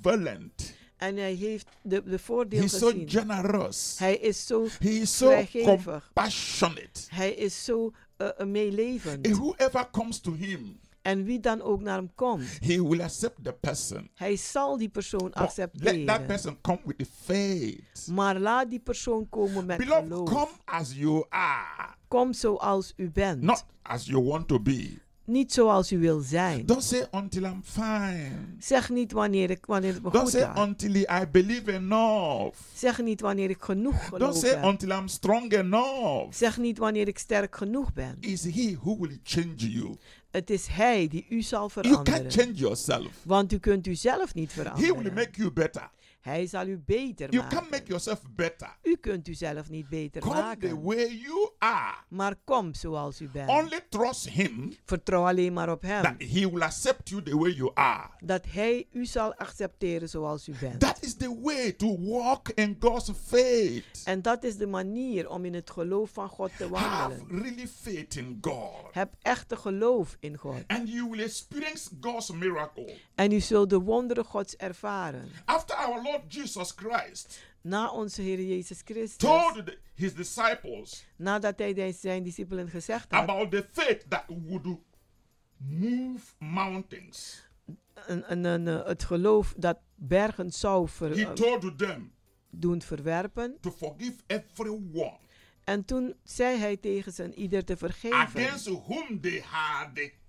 benevolent.
En hij heeft de, de voordeel
He's so
gezien.
generous.
Hij is zo
He is so
vrijgevig.
compassionate.
Hij is zo eh, eh,
And
meelevend.
Whoever comes to him,
En wie dan ook naar hem komt,
he will accept the person.
hij zal die persoon
But Oh, let that
accepteren.
person come with the faith.
Maar laat die persoon komen met
Beloved, come
geloof.
as you are,
Kom zoals u
not
bent.
as you want to be.
Niet zoals u wil zijn.
Don't say until I'm fine.
Zeg niet wanneer, ik, wanneer het me
Don't
goed
say
gaat.
until I believe enough.
Zeg niet wanneer ik genoeg
Don't
geloof
say
heb.
until I'm strong enough.
Zeg niet wanneer ik sterk genoeg ben.
Is he who will change you?
Het is Hij die u zal
You can't
veranderen.
change yourself.
Want u kunt uzelf niet
He will
veranderen.
make you better.
Hij zal u beter
You
maken.
can't make yourself better.
U kunt uzelf niet beter
Come the
maken.
way you are.
Maar kom zoals u bent.
Only trust Him
Vertrouw alleen maar op Hem.
that He will accept you the way you are.
dat Hij u zal accepteren zoals u bent.
That is the way to walk in God's faith.
en dat is de manier om in het geloof van God te
Have
wandelen.
really faith in God.
Heb echte geloof in God.
And you will experience God's miracle.
En u zult de wonderen Gods ervaren.
After our Lord Jesus Christ
Na onze Heer Jezus Christus.
told the- his disciples
Nadat hij de- zijn discipelen gezegd had.
about the faith that would move mountains,
Een, een, een, eh, het geloof dat bergen zou ver-
he
eh,
told them
doen verwerpen.
to forgive everyone
En toen zei hij tegen zijn ieder te vergeven.
against whom they had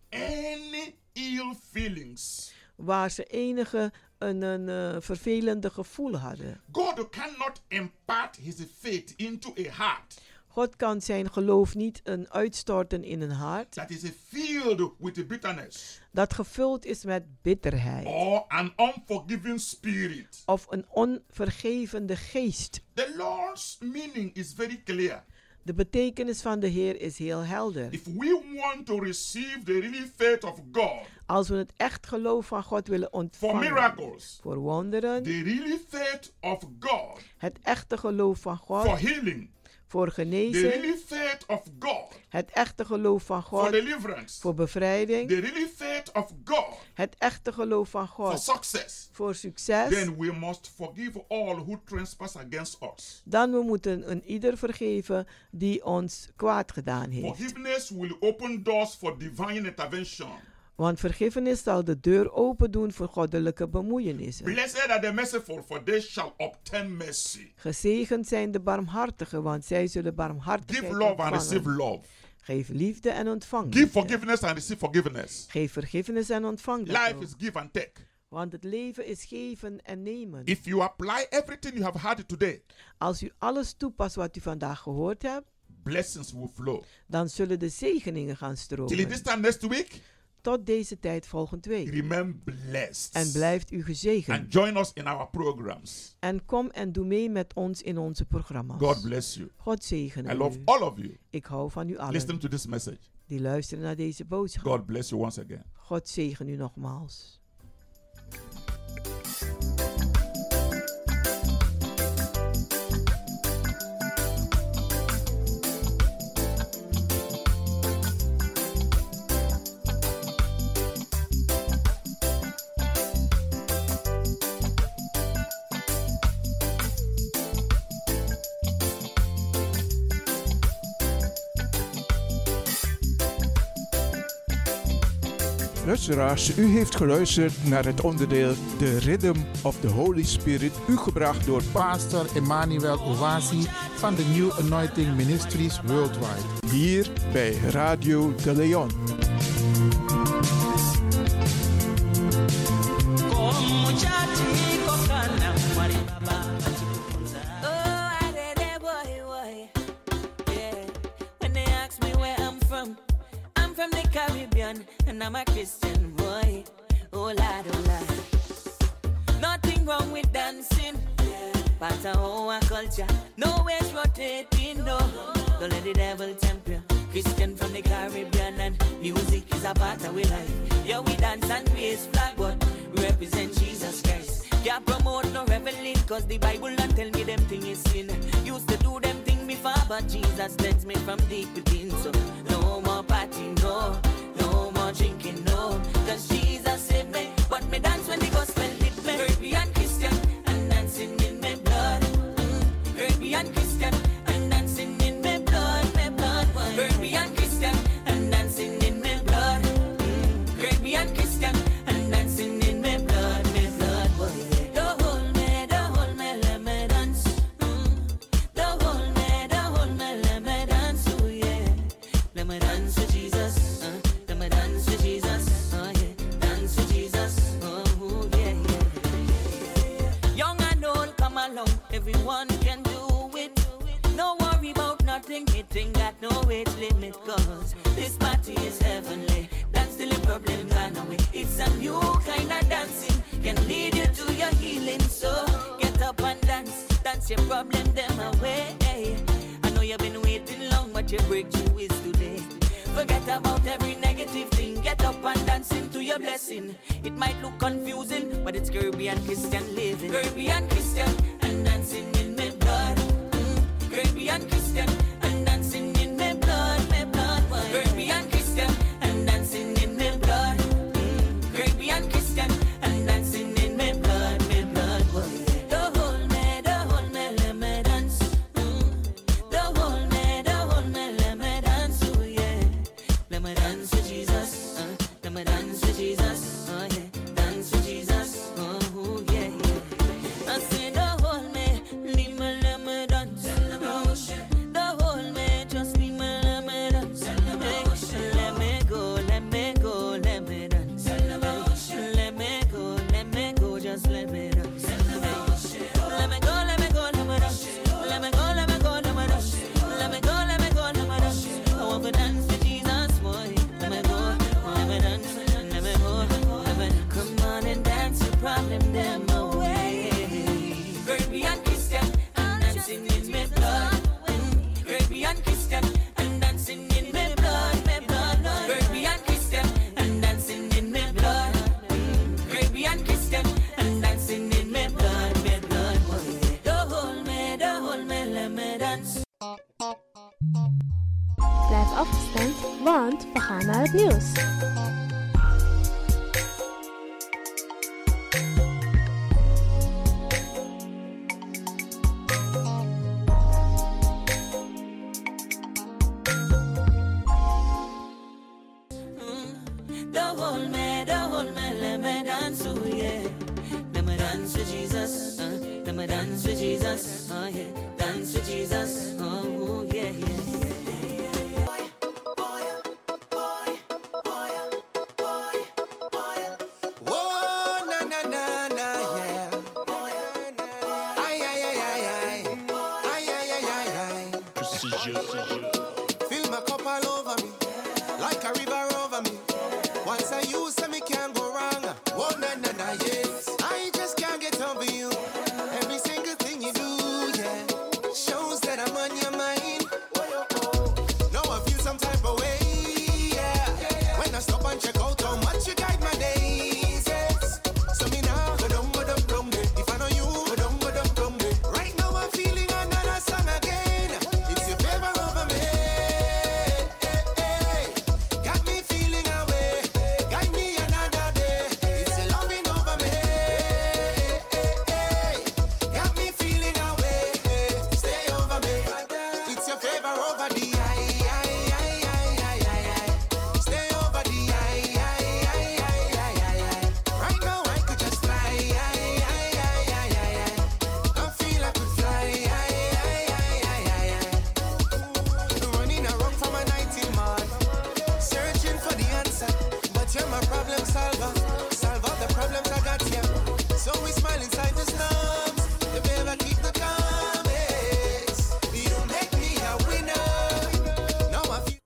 any ill feelings.
Waar ze enige een, een eh, vervelende gevoel hadden.
God cannot impart his faith into a heart
God kan zijn geloof niet een uitstorten in een hart
that is filled with bitterness
dat gevuld is met bitterheid
or an unforgiving spirit.
of een onvergevende geest.
The Lord's meaning is very clear.
De betekenis van de Heer is heel helder.
If we want to receive the real faith of God
Als we het echt geloof van God willen
for
ontvangen
miracles,
voor wonderen,
the real faith of God
het echte geloof van
for
God
healing,
voor
the real
genezing,
faith of God
het echte geloof van
for
God
deliverance,
voor bevrijding,
the real faith of God
het echte geloof van
for
God
success,
voor succes,
then we must forgive all who trespass against us.
dan we moeten een ieder vergeven die ons kwaad gedaan heeft.
Forgiveness will open doors for divine intervention.
Want vergiffenis zal de deur open doen voor goddelijke bemoeienissen.
Blessed are the merciful, for they shall obtain mercy.
Gezegend zijn de barmhartigen, want zij zullen
Give
barmhartigheid
love and receive
ontvangen.
love.
Geef liefde en ontvang
Give
liefde.
forgiveness and receive forgiveness.
Geef vergiffenis en ontvang dat
Life
ook.
is give and take.
Want het leven is geven en nemen.
If you apply everything you have had today,
Als u alles toepast wat u vandaag gehoord hebt,
blessings will flow.
dan zullen de zegeningen gaan
Till this
stromen.
time next week,
Tot deze tijd volgende week.
remain blessed.
En blijft u
And
gezegend.
join us in our programs.
En kom en doe mee met ons in onze
God
programma's.
bless you.
God
I
zegene
love
u.
all of you.
Ik hou van u allen.
Listen to this message.
die luisteren naar deze boodschap.
God bless you once again.
God zegen u nogmaals.
Luisteraars, u heeft geluisterd naar het onderdeel The Rhythm of the Holy Spirit, u gebracht door
Pastor Emmanuel Owasi van de New Anointing Ministries Worldwide.
hier bij Radio de Leon.
When they ask me where I'm from, I'm from the Caribbean and I'm a Christian boy. Oh, Lord, oh, Lord. Nothing wrong with dancing, part of our culture. No ways rotating, no. Don't let the devil tempt you. Christian from the Caribbean and music is a part of our life. Yeah, we dance and raise flag, but we represent Jesus Christ. Can't promote no reveling, cause the Bible not tell me them thing is sin. Used to do them thing before, but Jesus lets me from deep within. So no more party, no, no more drinking, no. Cause Jesus saved me, but me dance when the gospel hit me. Caribbean Christian and dancing in my blood. Mm. Caribbean Christian and dancing in my blood, my blood. Caribbean Christian and dancing in my blood. Mm. Caribbean Christian and dancing in my blood, my blood. Boy, yeah. Don't hold me, don't hold me, let me dance. Mm. Don't hold me, don't hold me, let me dance, oh yeah. Let me dance with Jesus, uh, let me dance with Jesus, oh yeah. Dance with Jesus, oh yeah, yeah. Young and old, come along, everyone can do it. No worry about nothing, it ain't got no age limit, cause this party is heavenly. Dance till your problem gone away. It's a new kind of dancing, can lead you to your healing, so get
Put your problem them away. I know you've been waiting long, but your breakthrough is today. Forget about every negative thing. Get up and dance into your blessing. It might look confusing, but it's Caribbean Christian living. Caribbean Christian and dancing in my blood. Mm. Caribbean Christian and dancing in my blood, my blood. Why? Caribbean Christian and dancing in my blood. Mm. Caribbean Christian and dancing in my blood, my blood. Oh, Why? Don't hold me, don't hold me, let me dance. Mm. Don't hold me, don't hold me, let me dance. Oh yeah. Let me dance with Jesus. Uh, let me dance with Jesus. Oh yeah. Dance with Jesus. Oh yeah. yeah. I say, don't hold me, leave me, let me dance. Don't hold me, just leave me, let me dance. Hey, Let me go, let me go, let me dance. Hey, Let me go, let me go, just let me dance. Hey, Let me go, let me go, let me dance. Let me go, let me go, let me dance. Let me go, let me go, let me dance. I want to dance with Jesus, boy. Let me go, let me dance, let me go, let me come on and dance your problem them away. Caribbean Christian and dancing in my blood. Mm. Caribbean Christian and dancing in my blood, my blood. Caribbean Christian and dancing in my blood. Mm. Caribbean Christian and dancing in my blood, my blood. Don't hold me, don't hold me, let me dance.
Blijf afgestemd, want we gaan naar het nieuws.
Don't hold me, don't hold me, let me dance, oh yeah. Let me dance with Jesus, uh, let me dance with Jesus, oh yeah. Dance with Jesus, oh yeah, yeah.
Oh, na na na na, yeah. Ay, ay, ay, ay, ay. Ay, ay, ay, ay, ay. Fill my cup all over me, like a river over me. Once I use